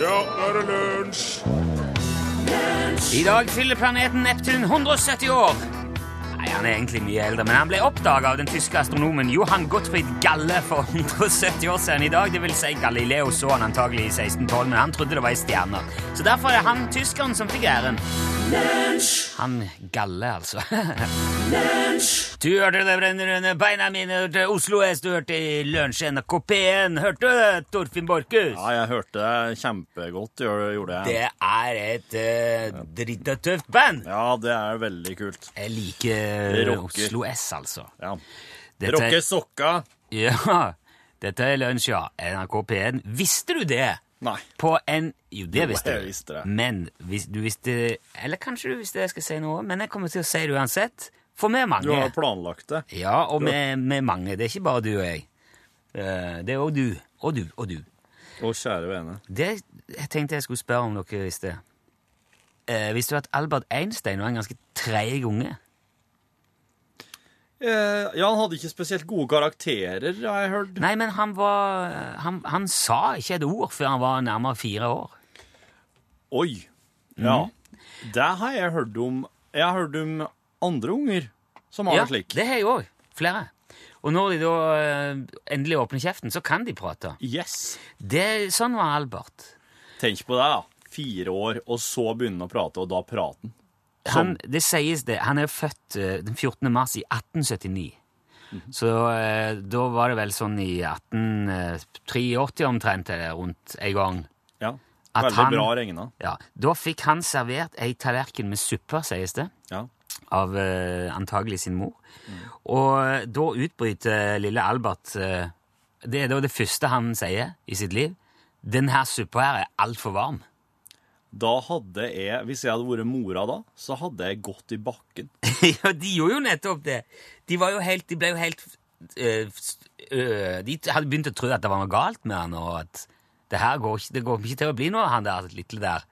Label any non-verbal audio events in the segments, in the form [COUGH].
nå er det lunsj! I dag fyller planeten Neptun 170 år. Nei, Han er egentlig mye eldre, men han ble oppdaga av den tyske astronomen Johan Gottfried Galle for 170 år siden i dag. Det vil si Galileo så han antagelig i 1612, men han trodde det var ei stjerne. Så derfor er han tyskeren som fikk æren. Han Galle, altså. [LAUGHS] Du hørte det brenner under beina mine, hørte Oslo S, du hørte Lunsj NRK P1, hørte du det, Torfinn Borchhus? Ja, jeg hørte deg kjempegodt, gjør- gjorde jeg. Det er et uh, drita tøft band. Ja, det er veldig kult. Jeg liker eh, Rocker. Oslo S, altså. Ja. Dette- Rocke sokka. [LAUGHS] Ja, dette er lunsj, ja. NRK P1. Visste du det? Nei. På en Jo, det Jo, visste jeg du. visste det. Men hvis du visste Eller kanskje du visste det jeg skal si nå, men jeg kommer til å si det uansett. For vi er Du har mange. planlagt det. Ja, og vi vi er mange. Det er ikke bare du og jeg. Eh, Det er òg du. Og du. Og du. Å, kjære vene. Det jeg tenkte jeg skulle spørre om dere visste. Eh, visste du at Albert Einstein var en ganske treig unge? Eh, ja, han hadde ikke spesielt gode karakterer, har jeg hørt. Nei, men han var Han, han sa ikke et ord før han var nærmere fire år. Oi. Ja. Mhm. Det har jeg hørt om. Jeg har hørt om andre unger som har Ja, det slik. det har jeg òg. Flere. Og når de da eh, endelig åpner kjeften, så kan de prate. Yes. Det, sånn var Albert. Tenk på det, da. Fire år, og så begynne å prate, og da praten. Sånn. Han, det sies det. Han er født eh, den 14. mars i 1879. Mhm. Så eh, da var det vel sånn i 1883 omtrent, eller rundt en gang. Ja. At Veldig han- bra regna. Ja, Da fikk han servert ei tallerken med suppe, sies det. Ja. av eh, antagelig sin mor. Og da utbryter lille Albert eh, Det er da det første han sier i sitt liv. 'Den her suppa her er altfor varm'. Da hadde jeg, hvis jeg hadde vært mora da, så hadde jeg gått i bakken. [LAUGHS] ja, de gjorde jo nettopp det! De, var jo helt, de ble jo helt eh, s- øh, De hadde begynt å tro at det var noe galt med han, og at det her går ikke, det går ikke til å bli noe av han der lille der.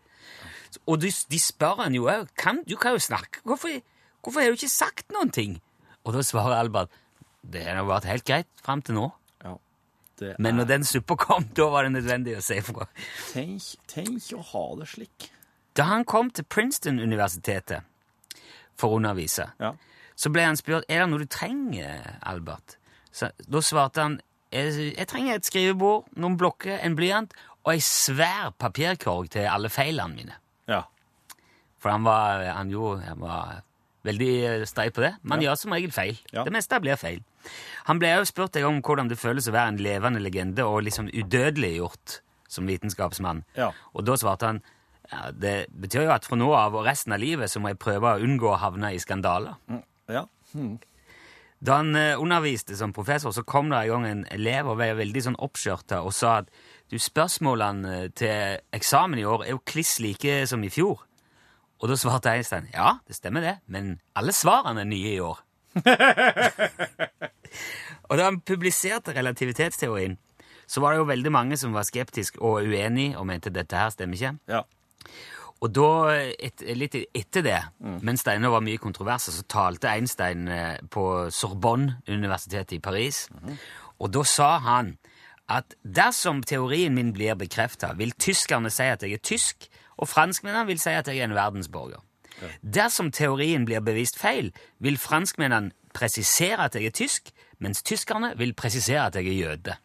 Og de, de spør han jo òg. Du kan jo snakke. Hvorfor, hvorfor har du ikke sagt noen ting? Og da svarer Albert det har vært helt greit fram til nå. Ja. Det Men er, når den suppa kom, [LAUGHS] da var det nødvendig å si fra. tenk, tenk å ha det slik. Da han kom til Princeton-universitetet for å undervise, Ja. så ble han spurt er det noe du trenger, Albert. Så, da svarte han jeg, jeg trenger et skrivebord, noen blokker, en blyant og ei svær papirkorg til alle feilene mine. ja. For han var, han gjorde, han var veldig eh, streit på det. Man gjør som regel feil. Ja. Det meste blir feil. Han ble også spurt en gang om hvordan det føles å være en levende legende og liksom udødeliggjort som vitenskapsmann. Ja. Og da svarte han ja, det betyr jo at fra nå av og resten av livet så må jeg prøve å unngå å havne i skandaler. ja. Da han eh, underviste som professor, så kom det en gang en elev og var veldig sånn oppskjørta og sa at du, spørsmålene eh, til eksamen i år er jo kliss like som i fjor. Og da svarte Einstein ja, det stemmer det, men alle svarene er nye i år. [LAUGHS] og da han publiserte relativitetsteorien, så var det jo veldig mange som var skeptiske og uenige og mente dette her stemmer ikke. ja. Og da, et, litt etter det, mens det ennå var mye kontroverser, så talte Einstein eh, på Sorbonne, universitetet i Paris. Og da sa han at dersom teorien min blir bekrefta, vil tyskerne si at jeg er tysk, og franskmennene vil si at jeg er en verdensborger. Dersom teorien blir bevist feil, vil franskmennene presisere at jeg er tysk, mens tyskerne vil presisere at jeg er jøde.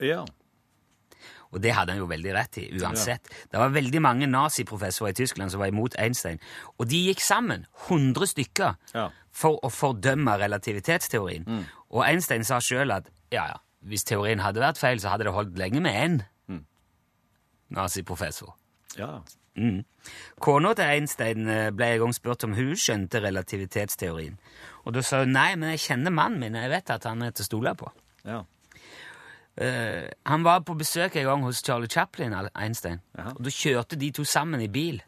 Ja. Og det hadde han jo veldig rett i, uansett. Det var veldig mange naziprofessorer i Tyskland som var imot Einstein. Og de gikk sammen, 100 stykker, Ja. for å fordømme relativitetsteorien. Og Einstein sa sjøl at ja, ja, hvis teorien hadde vært feil, så hadde det holdt lenge med én naziprofessor. ja. Kona til Einstein eh, ble en gang spurt om hun skjønte relativitetsteorien. Og da sa hun nei, men jeg kjenner mannen min, og jeg vet at han er til å stole på. ja. Eh, han var på besøk en gang hos Charlie Chaplin, Al- Einstein. Jaha. Og da kjørte de to sammen i bil.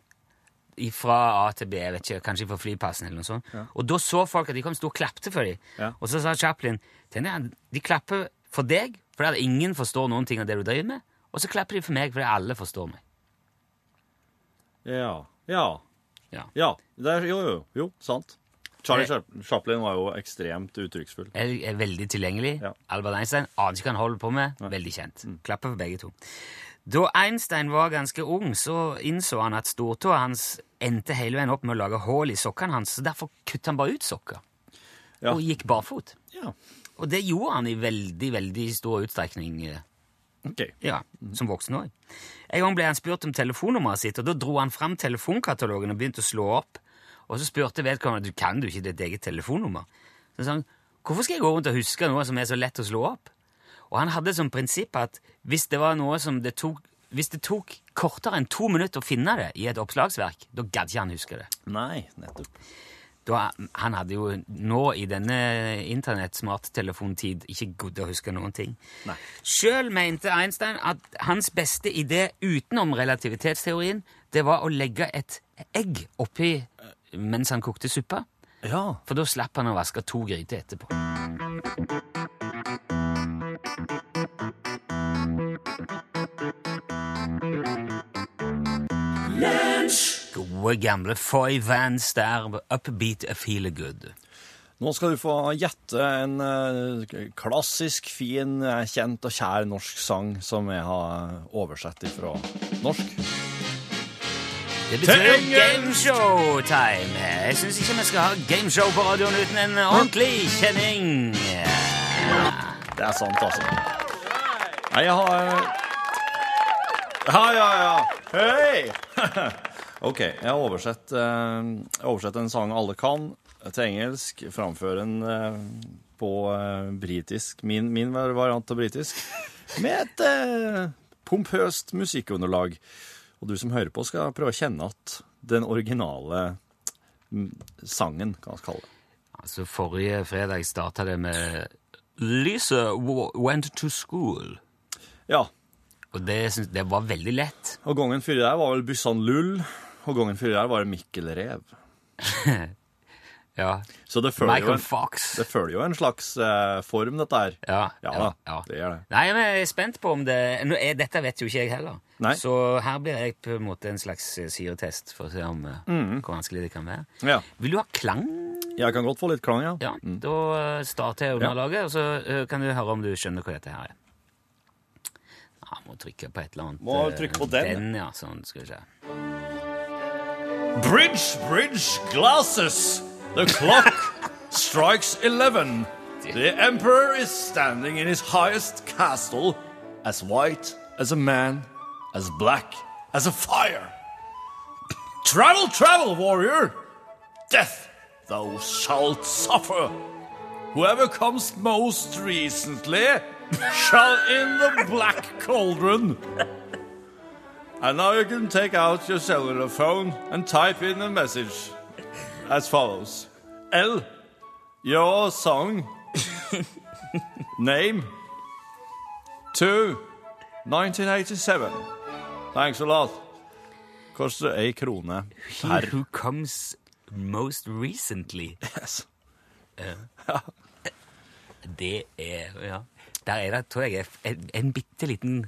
Fra A til B, jeg vet ikke, kanskje fra flyplassen eller noe sånt. Og da så folk at de kom stå og klapte for dem. Ja. Og så sa Chaplin «Tenk deg, de klapper for deg fordi at ingen forstår noen ting av det du driver med. Og så klapper de for meg fordi alle forstår meg. Ja. Ja. Ja. ja. Det er, jo, jo, jo, sant. Charlie Det- Chap- Chaplin var jo ekstremt uttrykksfull. Jeg er veldig tilgjengelig. Ja. Albert Einstein aner ikke hva han holder på med. Veldig kjent. Klapper for begge to. Da Einstein var ganske ung, så innså han at stortåa hans endte hele veien opp med å lage hull i sokkene hans, så derfor kutta han bare ut sokker Ja. og gikk barfot. Ja, Og det gjorde han i veldig, veldig stor utstrekning eh, ok. ja, som voksen òg. En gang ble han spurt om telefonnummeret sitt, og da dro han fram telefonkatalogen og begynte å slå opp. Og så spurte vedkommende du kan du ikke ditt eget telefonnummer. Så sa han hvorfor skal jeg gå rundt og huske noe som er så lett å slå opp? Og han hadde som prinsipp at hvis det var noe som det tok hvis det tok kortere enn to minutter å finne det i et oppslagsverk, da gadd ikke han huske det. Nei, nettopp. Da, han hadde jo nå i denne internett-smarttelefontid ikke godt å huske noen ting. Nei. Sjøl mente Einstein at hans beste idé utenom relativitetsteorien, det var å legge et egg oppi eh, mens han kokte suppa. Ja. For da slapp han å vaske to gryter etterpå. Gode gamle Foy Van Sterb, upbeat a feel good. Nå skal du få gjette en eh, klassisk, fin, eh, kjent og kjær norsk sang som jeg har oversett ifra norsk. Det betyr jo Tengen! gameshow-time. Jeg syns ikke vi skal ha gameshow på radioen uten en ordentlig kjenning. Det er sant, altså. Nei, jeg har eh, Ja, ja, ja. Hei! [LAUGHS] OK. Jeg har oversett, eh, jeg har oversett en sang alle kan, til engelsk. Framføre den eh, på eh, britisk. Min, min variant av britisk. Med et eh, pompøst musikkunderlag. Og du som hører på, skal prøve å kjenne at den originale mm, sangen, kan vi kalle det. Altså, Forrige fredag starta det med Lisa wa- went to school. Ja. Og det, syns- det var veldig lett. Og gangen før der var vel Byssan Lull, og gangen før der var det Mikkel Rev. Ja. Så det følger, jo Michael en, Fox. det følger jo en slags eh, form, dette her. Ja, Ja da, det gjør det. Nei, men jeg er spent på om det nå er, Dette vet jo ikke jeg heller. Nei. Så her blir jeg på en måte en slags eh, syretest for å se om, eh, Mm. hvor vanskelig det kan være. Ja. Vil du ha klang? Jeg kan godt få litt klang, ja. Ja, da eh, starter jeg underlaget, og så eh, kan du høre om du skjønner hva dette her er. Ja, må trykke på et eller annet. Må eh, trykke på den. Den, ja, sånn, skal vi se. Bridge, bridge, glasses. The clock strikes 11. The emperor is standing in his highest castle, as white as a man, as black as a fire. Travel, travel, warrior. Death thou shalt suffer. Whoever comes most recently shall in the black cauldron. And now you can take out your cellular phone and type in a message [LAUGHS] as follows. L, your [LAUGHS] song, name, to 1987. Thanks a lot. Koster ei krone He per who comes most recently, yes. det er ja. Der er det, tror jeg, en, en bitte liten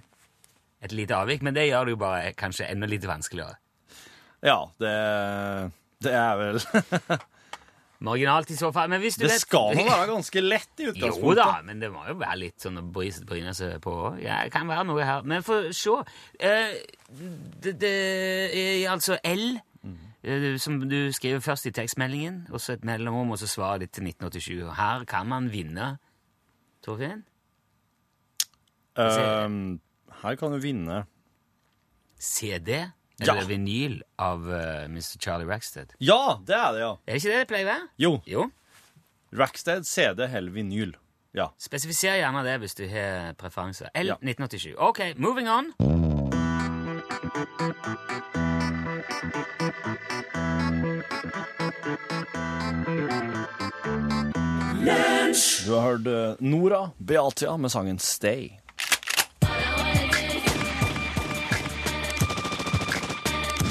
et lite avvik, men det gjør det jo bare kanskje enda litt vanskeligere. Ja, det, det er vel Marginalt i så fall, men hvis du [LAUGHS] Det vet... [LAUGHS] skal nå være ganske lett i utgangspunktet. Jo da, men det må jo være litt sånn å bry, bryne seg på. Ja, det kan være noe her. Men få se. Eh, det, det er altså L, eh, som du skriver først i tekstmeldingen, og så et mellomrom, og så svaret ditt til 1987. Og her kan man vinne, Torfinn. Ehm, her kan du vinne CD Ja. eller vinyl av eh, Mr. Charlie Rackstead. Ja, det er det, ja. Er det ikke det det pleier å være? Jo. Jo. Rackstead, CD, hell, vinyl. Ja. Spesifiser gjerne det hvis du har preferanser. L Ja. 1987. Ok, moving on. Du har hørt eh, Nora Beatia med sangen Stay. [LAUGHS]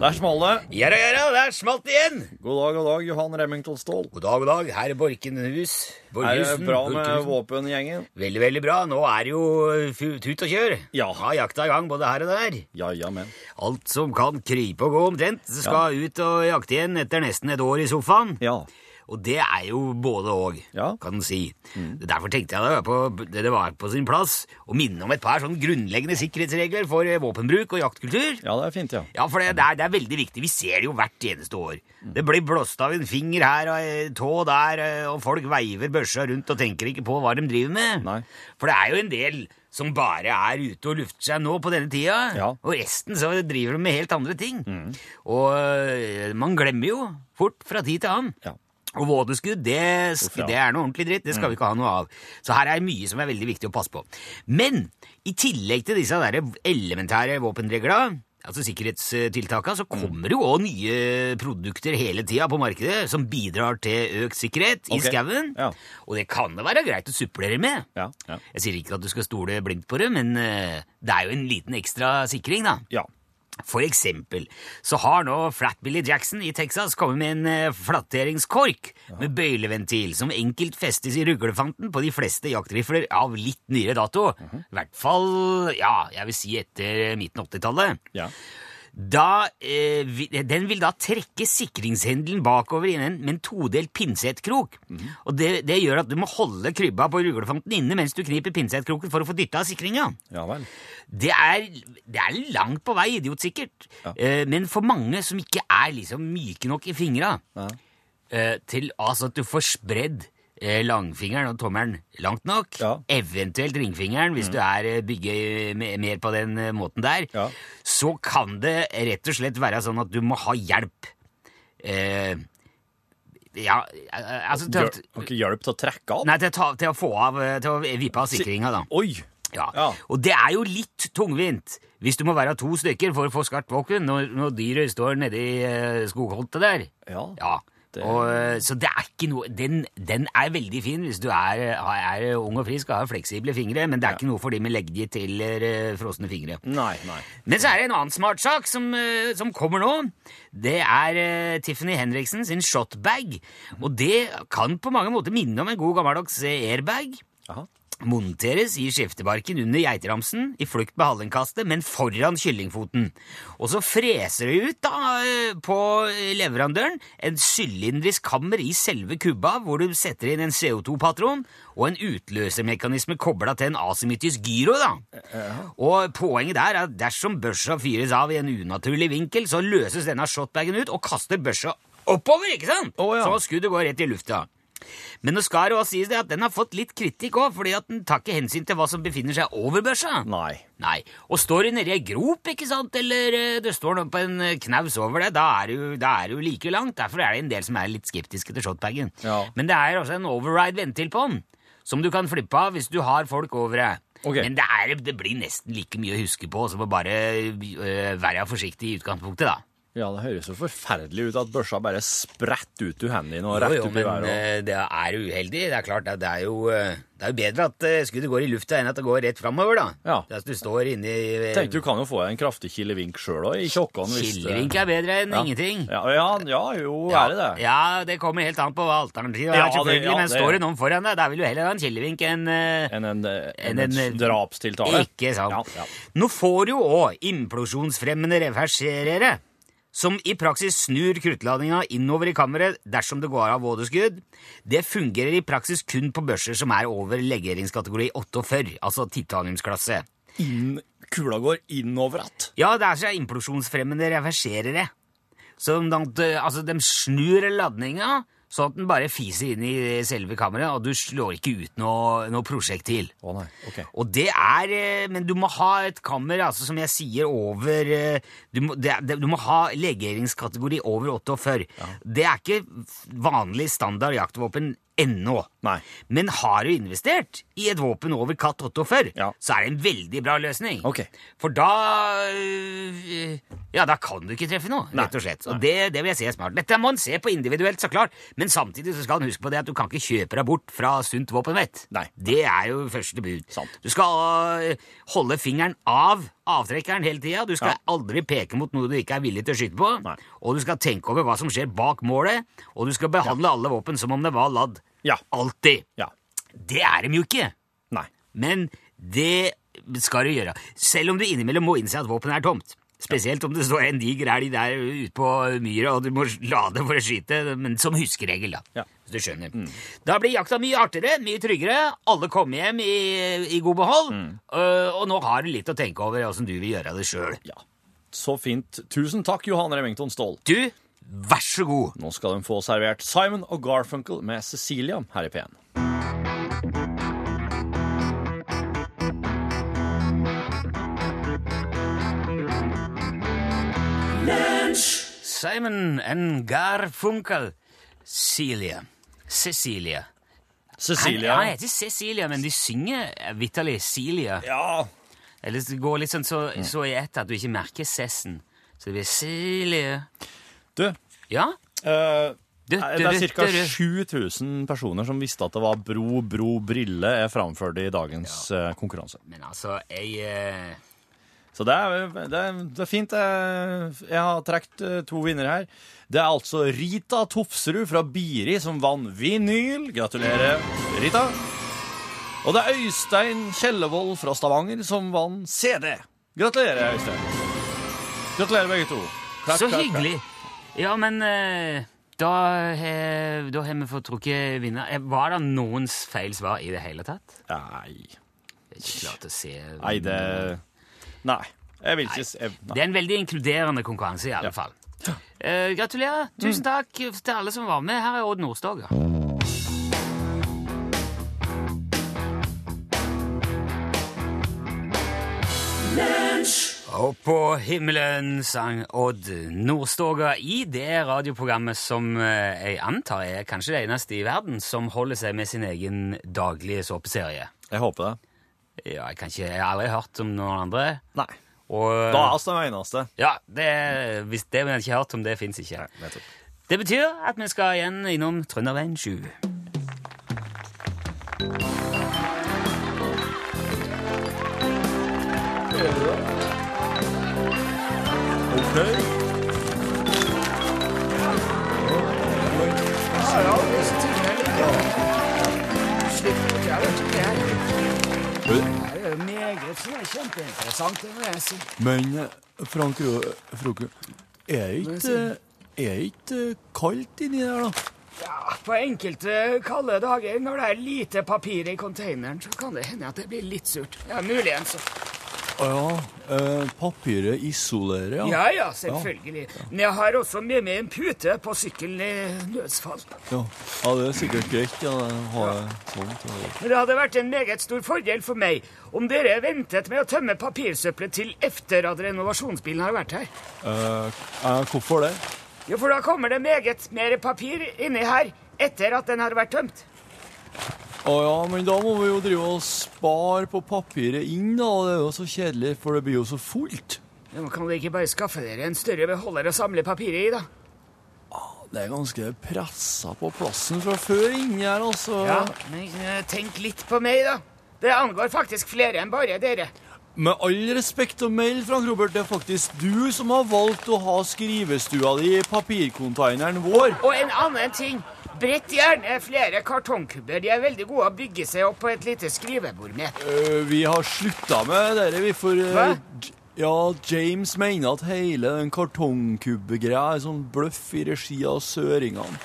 Der smalt det. Ja da, ja da, der smalt det igjen! God dag, god dag, Johan Remington Ståhl. God dag, god dag. Her er Borkenhus. Er det Borkenhusen. bra med Borkenhusen. våpengjengen? Veldig, veldig bra. Nå er det jo eh, fu- tut og kjør. Ja. Ha jakta i gang, både her og der. Ja, ja, men. Alt som kan krype og gå omtrent, skal ut og jakte igjen etter nesten et år i sofaen. Ja. Og det er jo både og, Ja. kan en si. Mm. Derfor tenkte jeg det var, på, det var på sin plass å minne om et par sånn grunnleggende sikkerhetsregler for eh, våpenbruk og jaktkultur. Ja, det er fint, ja. Ja, for det, det, er, det er veldig viktig. Vi ser det jo hvert eneste år. Det blir blåst av en finger her og en tå der, eh, og folk veiver børsa rundt og tenker ikke på hva de driver med. Nei. For det er jo en del som bare er ute og lufter seg nå på denne tida, Ja. Mm. og resten så driver de med helt andre ting. Og øh, man glemmer jo fort fra tid til annen. Ja. Og vådeskudd, det, sk- Uff, ja. Mm. det er noe ordentlig dritt. Det skal vi ikke ha noe av. Så her er mye som er veldig viktig å passe på. Men i tillegg til disse der elementære våpenregla, altså sikkerhetstiltaka, Mm. så kommer det jo òg nye produkter hele tida på markedet som bidrar til økt sikkerhet i Ok. skauen. Ja. Og det kan det være greit å supplere med. Ja, ja. Jeg sier ikke at du skal stole blindt på det, men eh, det er jo en liten ekstra sikring, da. Ja. For eksempel så har nå Flat Billy Jackson i Texas kommet med en eh, flatteringskork med bøyleventil som enkelt festes i ruglefanten på de fleste jaktrifler av litt nyere dato. I hvert fall, ja, jeg vil si etter eh, midten av 80-tallet. ja. Da, eh, vi- den vil da trekke sikringshendelen bakover i en, med en todelt pinsettkrok. Og det, det gjør at du må holde krybba på ruglefanten inne mens du kniper pinsettkroken for å få dytta av sikringa. Ja vel. Det er, det er langt på vei idiotsikkert, Ja. Eh, men for mange som ikke er liksom myke nok i fingra Ja. eh, til altså at du får spredd eh, langfingeren og tommelen langt nok, Ja. Mm. eventuelt ringfingeren hvis du er eh, bygger me- mer på den eh, måten der, Ja. så kan det rett og slett være sånn at du må ha hjelp. Eh, ja, eh, altså til, Gjør, at- har ikke hjelp til å trekke av? Nei, til, å ta, til å få av eh, Til å vippe av sikringa, da. Oi! Ja. Ja. Og det er jo litt tungvint hvis du må være to stykker for å få skarpt våken når, når dyret står nedi uh, skogholtet der. Ja. Ja. Det- Og, eh, så det er ikke noe den, den er veldig fin hvis du er, eh, er ung og frisk og har fleksible fingre, men det er ikke noe for de med legggitt eller eh, frosne fingre. Nei, nei. Men så er det en annen smart sak som, eh, som kommer nå. Det er eh, Tiffany Henriksen sin shotbag. Og det kan på mange måter minne om en god gammeldags eh, airbag Jaha. monteres i skiftebarken under geiteramsen i flukt med hallenkastet, men foran kyllingfoten. Og så freser det ut da, eh, på leverandøren en sylindrisk kammer i selve kubba, hvor du setter inn en CO2-patron og en utløsermekanisme kobla til en asymmetrisk gyro. da. Og poenget der er at dersom børsa fyres av i en unaturlig vinkel, så løses denne shotbagen ut og kaster børsa oppover, ikke sant? Å, ja. Så skuddet går rett i lufta. Men nå skal det også sies det at den har fått litt kritikk òg, fordi at den tar ikke hensyn til hva som befinner seg over børsa. Nei. Nei. Og står du nedi ei grop, ikke sant, eller eh, det står noe på en eh, knaus over deg, da er du- da er du like langt. Derfor er det en del som er litt skeptiske til shotbagen. Ja. Men det er også en override-ventil på den, som du kan flippe av hvis du har folk over deg. Ok. Men det, er, det blir nesten like mye å huske på, så må bare eh, være forsiktig i utgangspunktet, da. Ja, det høres jo forferdelig ut at børsa bare spretter ut av hendene dine og Jo, rett jo, opp i men været. og- eh, det er uheldig. Det er klart at det er jo, eh, det er jo bedre at eh, skuddet går i lufta enn at det går rett framover, da. Ja. Det er At du står eh, inni Tenkte du kan jo få deg en kraftig kilevink sjøl òg, i kjokkan. hvis det- Killerink er bedre enn Ja. ingenting. Ja, ja, ja jo, er det det? Ja, det kommer helt an på hva alternativet Ja, er, det- selvfølgelig. ja, men det- står det noen foran deg, da vil du heller ha en killerink enn eh, Enn en, en, Enn en, en- drapstiltale? Ikke sant. Ja, ja. Nå får du òg implosjonsfremmende reverserere, som i praksis snur kruttladninga innover i kammeret dersom det går av vådeskudd. Det fungerer i praksis kun på børser som er over legeringskategori 48, altså titaniumsklasse. Inn, kula går innover att. Ja, det er så implosjonsfremmende reverserere. Sånn at eh, altså, de snur ladninga, sånn at den bare fiser inn i selve kammeret, og du slår ikke ut noe, noe prosjektil. Å nei, ok. Og det er eh, Men du må ha et kammer, altså som jeg sier, over eh, Du må, det, det, du må ha legeringskategori over 48. Det er ikke vanlig standard jaktvåpen ennå. Nei. Men har du investert i et våpen over katt 48, Ja. så er det en veldig bra løsning. Ok. For da øh, Ja, da kan du ikke treffe noe, Nei. rett og slett. Og det, det vil jeg si er smart. Dette må en se på individuelt, så klart. Men samtidig så skal en huske på det at du kan ikke kjøpe deg bort fra sunt våpenvett. Nei. Det er jo første bud. Sant. Du skal øh, holde fingeren av avtrekkeren hele tida. Du skal aldri peke mot noe du ikke er villig til å skyte på. Nei. Og du skal tenke over hva som skjer bak målet, og du skal behandle alle våpen som om det var ladd. Ja. Alltid. Ja. Det er de jo ikke. Nei. Men det skal du gjøre. Selv om du innimellom må innse at våpenet er tomt. Spesielt om det står en diger elg der ute på myra, og du må lade for å skyte, men som huskeregel, da. Ja. Hvis du skjønner. Da blir jakta mye artigere, mye tryggere, alle kommer hjem i, i god behold, øh, og nå har du litt å tenke over åssen du vil gjøre det sjøl. Ja. Så fint. Tusen takk, Johan Remington Ståhl. Du, vær så god. Nå skal de få servert Simon og Garfunkel med Cecilia her i P1. Simon and Garfunkel. Celia. Cecilia. Cecilia. Han, han heter Cecilia, men de synger eh, vitterlig Celia. Ja, Eller det går litt sånn så, så i ett at du ikke merker cessen. Så det blir Celia. du. Ja? eh, Du, det du, er ca. du, du. 7000 personer som visste at det var Bro, Bro, Brille er framført i dagens eh, konkurranse. Men altså, jeg eh, Så det er, det er, det er fint. Jeg, jeg har trukket eh, to vinnere her. Det er altså Rita Tofsrud fra Biri som vant vinyl. Gratulerer, Rita. Og det er Øystein Kjellevold fra Stavanger som vant CD. Gratulerer, Øystein. Gratulerer, begge to. Klapp, Så klapp, klapp. hyggelig! Ja, men eh, da har da har vi fått trukket vinner. Eh, Var det noens feil svar i det hele tatt? Nei. Det er ikke klart å se. Nei, det Nei. Jeg vil ikke jeg, Det er en veldig inkluderende konkurranse, i alle fall. Eh, gratulerer. Tusen takk til alle som var med. Her er Odd Nordstoga. Og på himmelen sang Odd Nordstoga i det radioprogrammet som eh, jeg antar er kanskje det eneste i verden som holder seg med sin egen daglige såpeserie. jeg håper det. Ja, jeg, kan ikke, jeg har aldri hørt om noen andre. Nei. Og, Da er oss den eneste. ja, det, hvis det vi ikke har hørt om, det fins ikke. nettopp. Det betyr at vi skal igjen innom Trønderveien 7. Men eh, Frank Frokke, er ikke eh, er ikke kaldt inni der, da? På enkelte kalde dager når det er lite papir i containeren, så kan det hende at det blir litt surt. Ja, Muligens. Å ja. Eh, papiret isolerer, ja. Ja ja, selvfølgelig. Men jeg har også med meg en pute på sykkelen i nødsfall. Ja, Ja, det er sikkert greit. Ja, det har jeg sånt. Ja. Men det hadde vært en meget stor fordel for meg om dere ventet med å tømme papirsøppelet til efter at renovasjonsbilen har vært her. Eh, eh, hvorfor det? Jo, for da kommer det meget mer papir inni her etter at den har vært tømt. Å ja, men da må vi jo drive og spare på papiret inn, da. Det er jo så kjedelig, for det blir jo så fullt. Ja, men kan dere ikke bare skaffe dere en større beholder å samle papiret i, da? Det er ganske pressa på plassen fra før inni her, altså. Ja, men eh, tenk litt på meg, da. Det angår faktisk flere enn bare dere. Med all respekt å melde, Frank Robert, det er faktisk du som har valgt å ha skrivestua di i papircontaineren vår. Og en annen ting. Brett gjerne flere kartongkubber. De er veldig gode å bygge seg opp på et lite skrivebord med. Øh, vi har slutta med dette, vi, for øh, Hva? J- Ja, James mener at hele den kartongkubbegreia er sånn bløff i regi av søringene.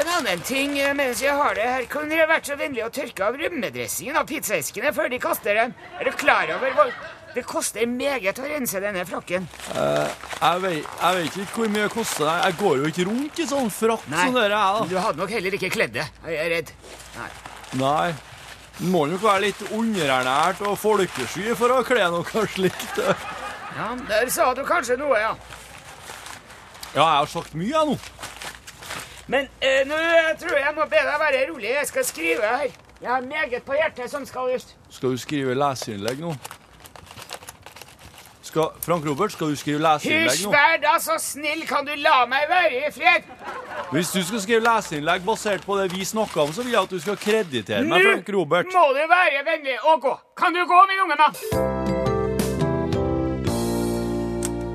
En annen ting eh, mens jeg har det her, kan dere vært så vennlig å tørke av rømmedressingen av pizzaeskene før de kaster dem? Er du klar over hva det koster meget å rense denne frakken? Jeg vet, jeg vet ikke hvor mye det koster. Jeg, jeg går jo ikke rundt i sånn frakk som dette men er, da. du hadde nok heller ikke kledd det, er jeg redd. Nei. Nei. Du må nok være litt underernært og folkesky for å kle noe slikt. Ja, Ja, der sa du kanskje noe, ja. jeg har sagt mye, jeg nå. Men eh, nå eh, tror jeg jeg må be deg være rolig. Jeg skal skrive her. Jeg har meget på hjertet som skal ut. Skal du skrive leserinnlegg nå? Skal, Frank Robert, skal du skrive leserinnlegg Hysj, nå? vær da så altså. snill, kan du la meg være i fred? Hvis du skal skrive leserinnlegg basert på det vi snakka om, så vil jeg at du skal kreditere meg, Frank Robert. må du være vennlig og gå. Kan du gå, min unge mann?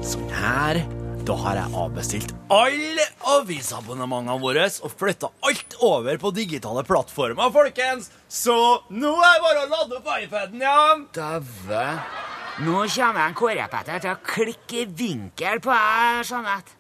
Sånn her. Da har jeg avbestilt alle avisabonnementene våre og flytta alt over på digitale plattformer, folkens! Så nå er det bare å lade opp iPaden, ja! Dæven. Nå kommer han Kårepetter til å klikke vinkel på deg, Jeanette.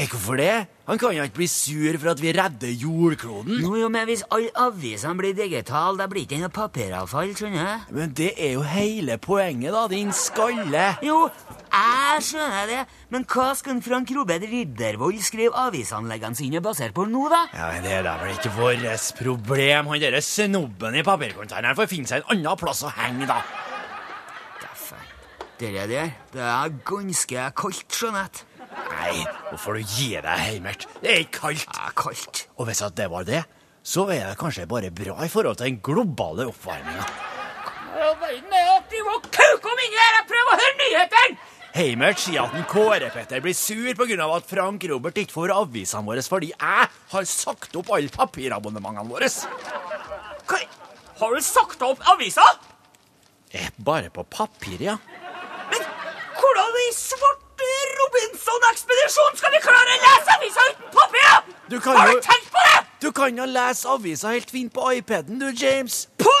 Hvorfor det? Han kan jo ikke bli sur for at vi redder jordkloden. Jo, jo, men hvis alle avisene blir digitale, da blir det ikke noe papiravfall, skjønner du? Men det er jo hele poenget, da, din skalle. Jo, jeg skjønner det, men hva skal Frank Robert Riddervold skrive avisanleggene sine basert på nå, da? Ja, men Det er da vel ikke vårt problem. Han derre snobben i papirkonteineren får finne seg en annen plass å henge, da. Derfor. Det der, det er ganske kaldt, Jeanette. Nei, nå får du gi deg, Heimert. Det er ikke kaldt. Det er kaldt. Og hvis at det var det, så er det kanskje bare bra i forhold til den globale oppvarminga. Verden er å drive og kuke om inni her! Jeg prøver å høre nyhetene! Heimert sier at en Kåre-Petter blir sur pga. at Frank Robert ikke får avisene våre fordi jeg har sagt opp alle papirabonnementene våre. Har du sagt opp avisa? Eh, Bare på papir, ja. Men hvordan i svarte Robinson-ekspedisjon skal vi klare å lese avisa uten papir? Du kan Har jo- du tenkt på det? Du kan jo lese avisa helt fint på iPaden, du, James. På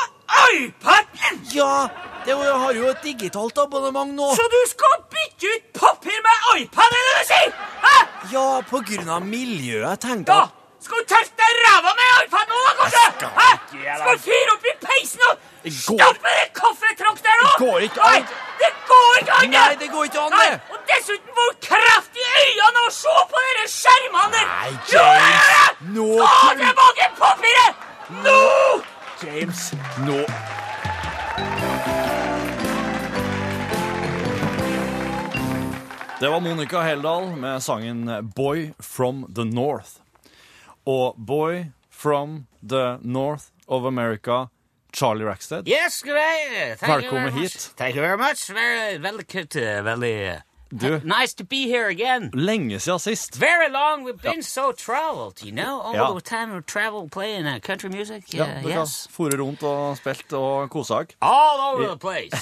iPaden! Ja, det er jo- jeg har jo et digitalt abonnement nå. Så du skal bytte ut papir med iPad, er det du sier? Hæ? Ja, på grunn av miljøet, jeg tenkte Da at skal du telte deg ræva med iPad nå, da, kanskje? Jeg skal Hæ? ikke gjøre det. Skal du fyre opp i peisen og Det går- stappe den kaffetrakteren nå? Det går ikke an. Nei, det går ikke an! Nei, det går ikke an, det. Nei, Og dessuten hvor kreft i øynene å se på dere skjermene der! Nei, Jo, det er James, det! nå Ta kan- tilbake papiret! Nå! James, nå Det var Monica Heldal med sangen Boy from the North. Og Boy from the North of America, Charlie Rackstead. Yes, great. Velkommen hit. Thank you very much. Very, uh, veldig, veldig... Du, Nice to be here again. lenge siden sist. Very long. We've been so traveled, you know. All Ja. the time we travel playing uh, country music. Ja, uh, dere har yes. foret rundt og spilt og kosa dere. All over the [LAUGHS] place.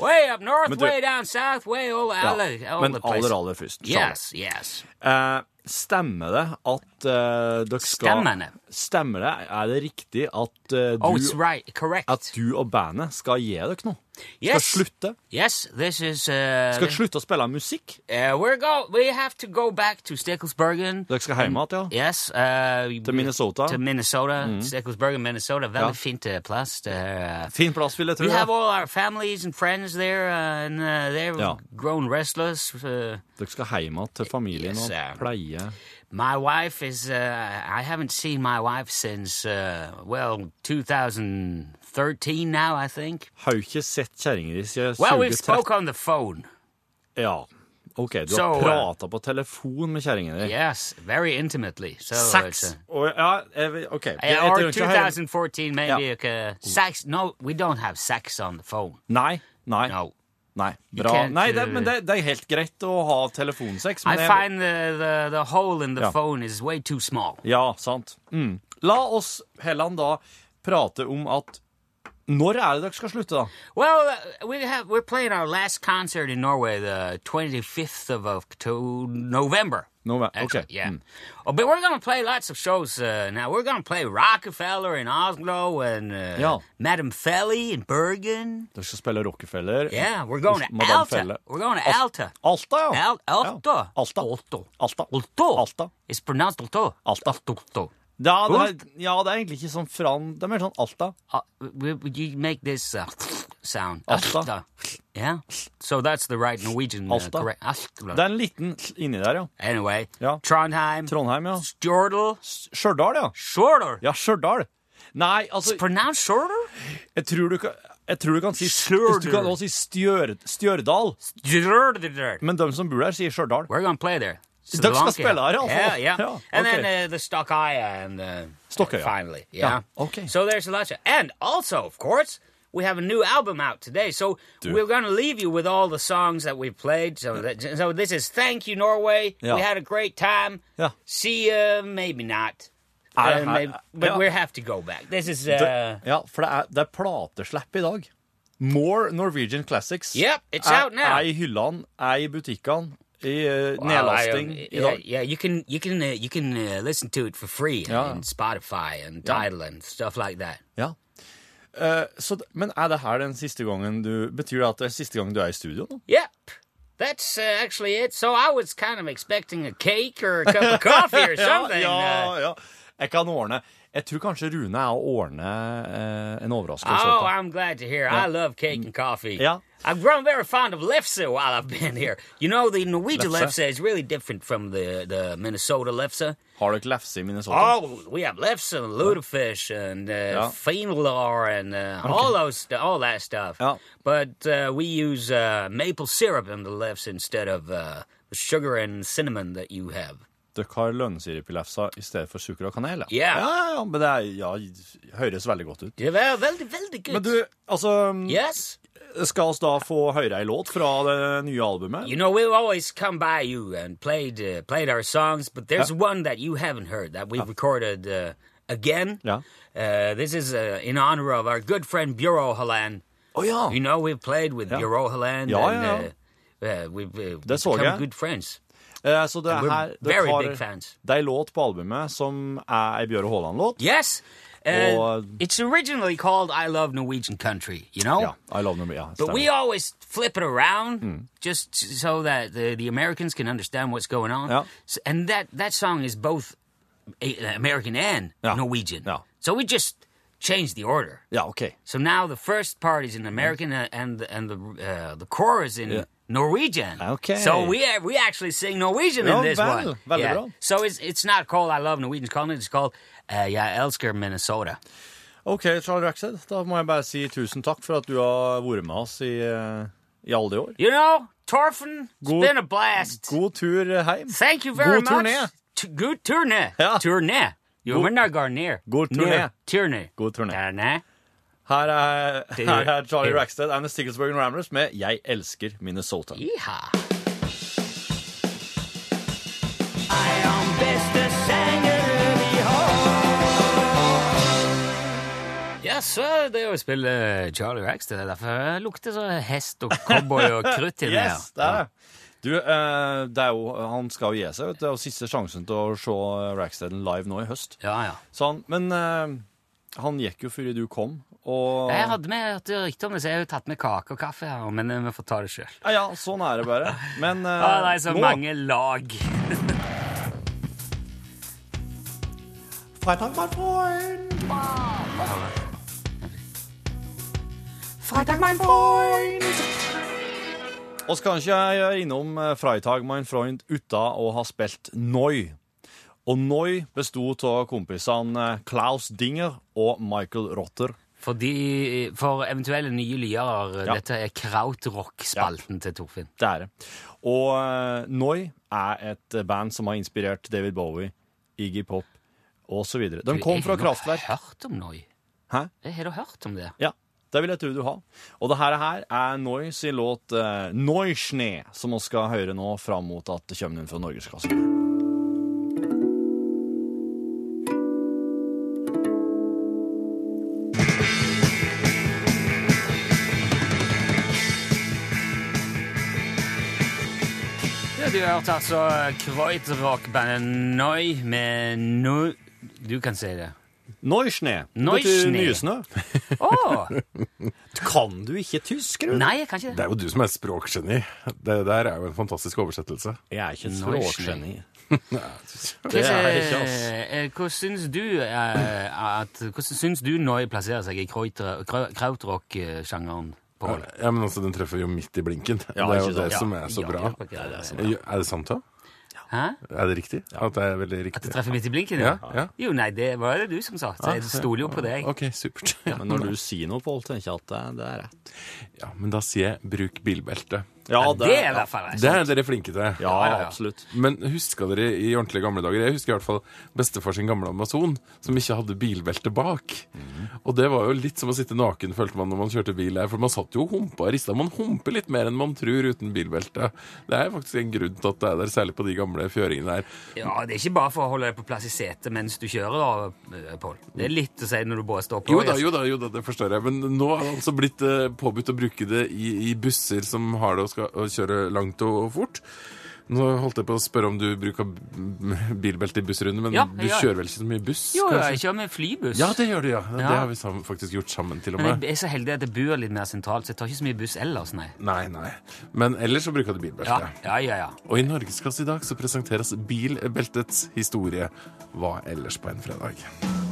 way up north, Men du- way down south, way all, all, all Men the place. aller, aller først. Charlie. Yes, yes. Eh, stemmer det at eh, dere skal Stemmer det. Stemmer det? Er det riktig at, eh, Oh, it's du, right. Correct. at du og bandet skal gi dere noe? Skal yes. slutte? Yes, this is. Uh, Skal dere slutte å spille musikk? uh, we're go. We have to go back to Stickelsbergen. Dere skal hjem igjen, ja? Yes. Uh, Til Minnesota? To Minnesota. Mm-hmm. Stickelsbergen, Minnesota. Veldig Ja. fint uh, plass. Det er, uh, Fin plass, vil jeg tro. We ja. have all our families and friends there, uh, and uh, they've Yeah. grown restless. Uh, Dere skal hjem igjen til familien Yes, og sir. pleie my wife is, uh, I haven't seen my wife since, uh, well, 2013 now, I think. Har jo ikke sett kjerringa di siden Well, 2013. we've spoke on the phone. Ja. OK, du So, har uh, prata på telefon med kjerringa di. Yes, very intimately. So Saks! it's, uh, Og, ja, jeg vet- OK. Jeg, yeah, jeg or trenger ikke å høre- 2014, maybe. Yeah. Okay. Sex? No, we don't have sex on the phone. Nei. Nei. No, Nei, bra. can't, Nei, det, uh, men det, det er helt greit å ha telefonsex. Men I jeg- find the, the the hole in the Yeah. phone is way too small. Ja, sant. Mm. La oss heller da prate om at når er det dere skal slutte, da? Well, uh, we have we're playing our last concert in Norway the 25th of October, November. Nove- Actually, okay, Yeah. mm. Oh, but we're going to play lots of shows uh, now. We're going to play Rockefeller in Oslo and uh, Yeah. Madame Felly in Bergen. Dere skal spille Rockefeller. Yeah, we're going to Hmm. Madame Alta. Felle. We're going to Al- Alta. Alta, ja. Al- Alta. Ja. Alta. Alta. Alta. Alta. Alta. It's pronounced Alta. Alta. Alta. Ja, det er, ja, det er egentlig ikke sånn fran... Det er mer sånn Alta. Uh, we- we- you make this uh, sound. Alta. Yeah. So that's the right Norwegian. Uh, Alta. correct. Alta. Det er en liten inni der, ja. Anyway, Ja. Trondheim, Trondheim, ja. Stjordal, Stjørdal, ja. Shorter. Ja, Stjørdal. Nei, altså Pronounced Shorter? Jeg tror du kan, jeg tror du kan si Stjørdal. Du kan også si Stjør, Stjørdal. Stjordal. Men de som bor der, sier Stjørdal. We're gonna play there. So Dere the skal long- spille her, i alle Yeah, fall. yeah. Ja, And ok. then uh, the Stockaya and uh, Stockøya. finally, yeah. Ja, ok. So there's a lot of, and also, of course, we have a new album out today. So we're gonna leave you with all the songs that we played. So that, so this is thank you Norway. Ja. We had a great time. Ja. See you, maybe not. I- Uh, I- maybe, but ja. we have to go back. This is uh, Ja, for det er, det er plateslepp i dag. More Norwegian Classics. Yep, it's er, out now. Er i hyllene, er i butikkene, i eh, Well, nedlasting I, um, i yeah, dag. yeah, you can you can uh, you can uh, listen to it for free Yeah. on Spotify and Tidal and stuff like that. Ja. Eh, så, d- men er det her den siste gangen du Betyr det at det er siste gang du er i studio nå? Yep. That's uh, actually it. So I was kind of expecting a cake or a cup of [LAUGHS] coffee or something. ja, ja, uh, ja. Jeg kan ordne Jeg tror kanskje Rune er å ordne eh, en overraskelse. oh, åt deg. I'm glad to hear. I love cake and coffee. Mm. Yeah. I've grown very fond of lefse while I've been here. You know, the Norwegian Lefse? lefse, is really different from the, the Minnesota lefse. Har dere lefse i Minnesota? Oh, we have lefse and lutefish and uh, fenlar and uh, all those, all that stuff. Yeah. But uh, we use uh, maple syrup in the lefse instead of uh, the sugar and cinnamon that you have. Dere har lønnsirup i lefsa i stedet for sukker og kanel? Ja. ja, ja men det er, ja, høres veldig godt ut. Det var veldig, veldig Men godt. du, altså Yes? Skal oss da få høre ei låt fra det nye albumet? You know, we've always come by you and played uh, played our songs, but there's one that you haven't heard that we've recorded uh, again. Yeah. Uh, this is uh, in honor of our good friend Bureau Holland. Å ja! You know, we've played with Yeah. Bureau Holland. Yeah, and, yeah, Uh, uh, we've, uh, That's all, become yeah. good friends. Eh, så det er We're her dere very har- big fans. Det er ei låt på albumet som er ei Bjøre Haaland-låt. Yes. Uh, Or- it's originally called I Love Norwegian Country, you know? Ja, I love nummer, ja, But we stemmer. always flip it around Hmm. just so that the, the Americans can understand what's going on. Yeah. S- and that, that song is both a, American and Yeah. Norwegian. Yeah. So we just changed the order. Ja, ok. So now the first part is in American uh, and the- and the uh, the chorus in Yeah. Norwegian. Okay. So we uh, we actually sing Norwegian Ja, in this vel, one. veldig bra. So it's it's not called I love Norwegian colony. It's called uh, Jeg elsker Minnesota. Ok, Charles Rackstead, da må jeg bare si tusen takk for at du har vært med oss i, eh, i alle de år. You know, Torfinn, it's God- been a blast. God tur hjem. Thank you very God much. turné. T- good turné. Ja. Turné. Jo, God- men det går ned. God turné. Ned. Turné. God turné. Turné. Her er, Det- her er Charlie det- Rackstead and the Sticklesburgen Ramblers med Jeg elsker Minnesota. Yeehaw. Ja, så det å spille Charlie Rags det er derfor det lukter så hest og cowboy og krutt i det her. Yes, det er det. Du, eh, det er jo, han skal jo gi seg, vet du. Det er jo siste sjansen til å se eh, Rackstead live nå i høst. Ja, ja. Så han, men eh, han gikk jo før du kom, og... Jeg hadde med jeg hørte rykte om det, så jeg har jo tatt med kake og kaffe her, men eh, vi får ta det sjøl. Ja, ja, sånn er det bare. Men eh, Ah, det er så nå- mange lag. Freitag, mein Freund. Freitag, mein Freund. Og skal ikke jeg gjøre innom eh, Freitag mein Freund uten å ha spilt Noi. Og Noi besto av kompisene eh, Klaus Dinger og Michael Rotter. For, de, for eventuelle nye lyere, Ja. dette er krautrock-spalten til Torfinn. Det er det. Og eh, Noi er et band som har inspirert David Bowie, Iggy Pop osv. De kom fra Kraftverk. Har du hørt om noe? Hæ? Har du hørt om det? Ja, det vil jeg tro du har. Og det her, her er Noi sin låt uh, Noischne, som vi skal høre nå fram mot at det kommer noen fra Norgesklassen. Ja, du hørte altså Kreutrock-bandet Noi med no... Du kan si det. Neuschnee. Neuschnee. Nysnø. Å! Kan du ikke tysk, Rune? Nei, jeg kan ikke Det er jo du som er språkgeni. Det der er jo en fantastisk oversettelse. Jeg er ikke et Neuschnee. språkgeni. det. er det ikke, ass. eh, Hvordan syns du, eh, at, hvordan syns du Noi plasserer seg i kreutre- krau- krautrock-sjangeren? på Hol? Ja, men altså, Den treffer jo midt i blinken. Ja, det er jo ikke sant? det Ja. som er så Ja, bra. ja, ja, det er så Jo, Er det sant, da? Hæ? Er det riktig? At det er veldig riktig? At det treffer midt i blinken? Ja, ja. Jo, nei, det var det du som sa. Så jeg stoler jo på deg. Ok, supert. Ja, Men når du sier noe, Pål, tenker jeg at det, det er rett. men da sier jeg bruk bilbelte. Ja, Det er i hvert fall Det er dere flinke til. ja, ja, ja. absolutt. Men huska dere i ordentlige gamle dager? Jeg husker i hvert fall bestefar sin gamle Amazon, som ikke hadde bilbelte bak. Mhm. Og det var jo litt som å sitte naken, følte man når man kjørte bil her. For man satt jo og humpa og rista. Man humper litt mer enn man tror uten bilbelte. Det er faktisk en grunn til at det er der, særlig på de gamle fjøringene der. Ja, det er ikke bare for å holde deg på plass i setet mens du kjører, da, eh, Pål. Det er litt å si når du bare står på. Jo da, jo da, jo da, det forstår jeg. Men nå har det altså blitt eh, påbudt å bruke det i, i busser som har det og skal og kjøre langt og, og fort. Nå holdt jeg på å spørre om du bruker b- bilbelte i bussrunder, men Ja, du jeg gjør. kjører vel ikke så mye buss? Jo, jo, kanskje? jeg kjører med flybuss. Ja, det gjør du, ja. Det Ja. har vi sam faktisk gjort sammen, til og Men med. jeg er så heldig at jeg bor litt mer sentralt, så jeg tar ikke så mye buss ellers, nei. Nei, nei. Men ellers så bruker du Ja, bilbelte. ja, ja. ja. Og i Norgesklasse i dag så presenteres bilbeltets historie. Hva ellers på en fredag?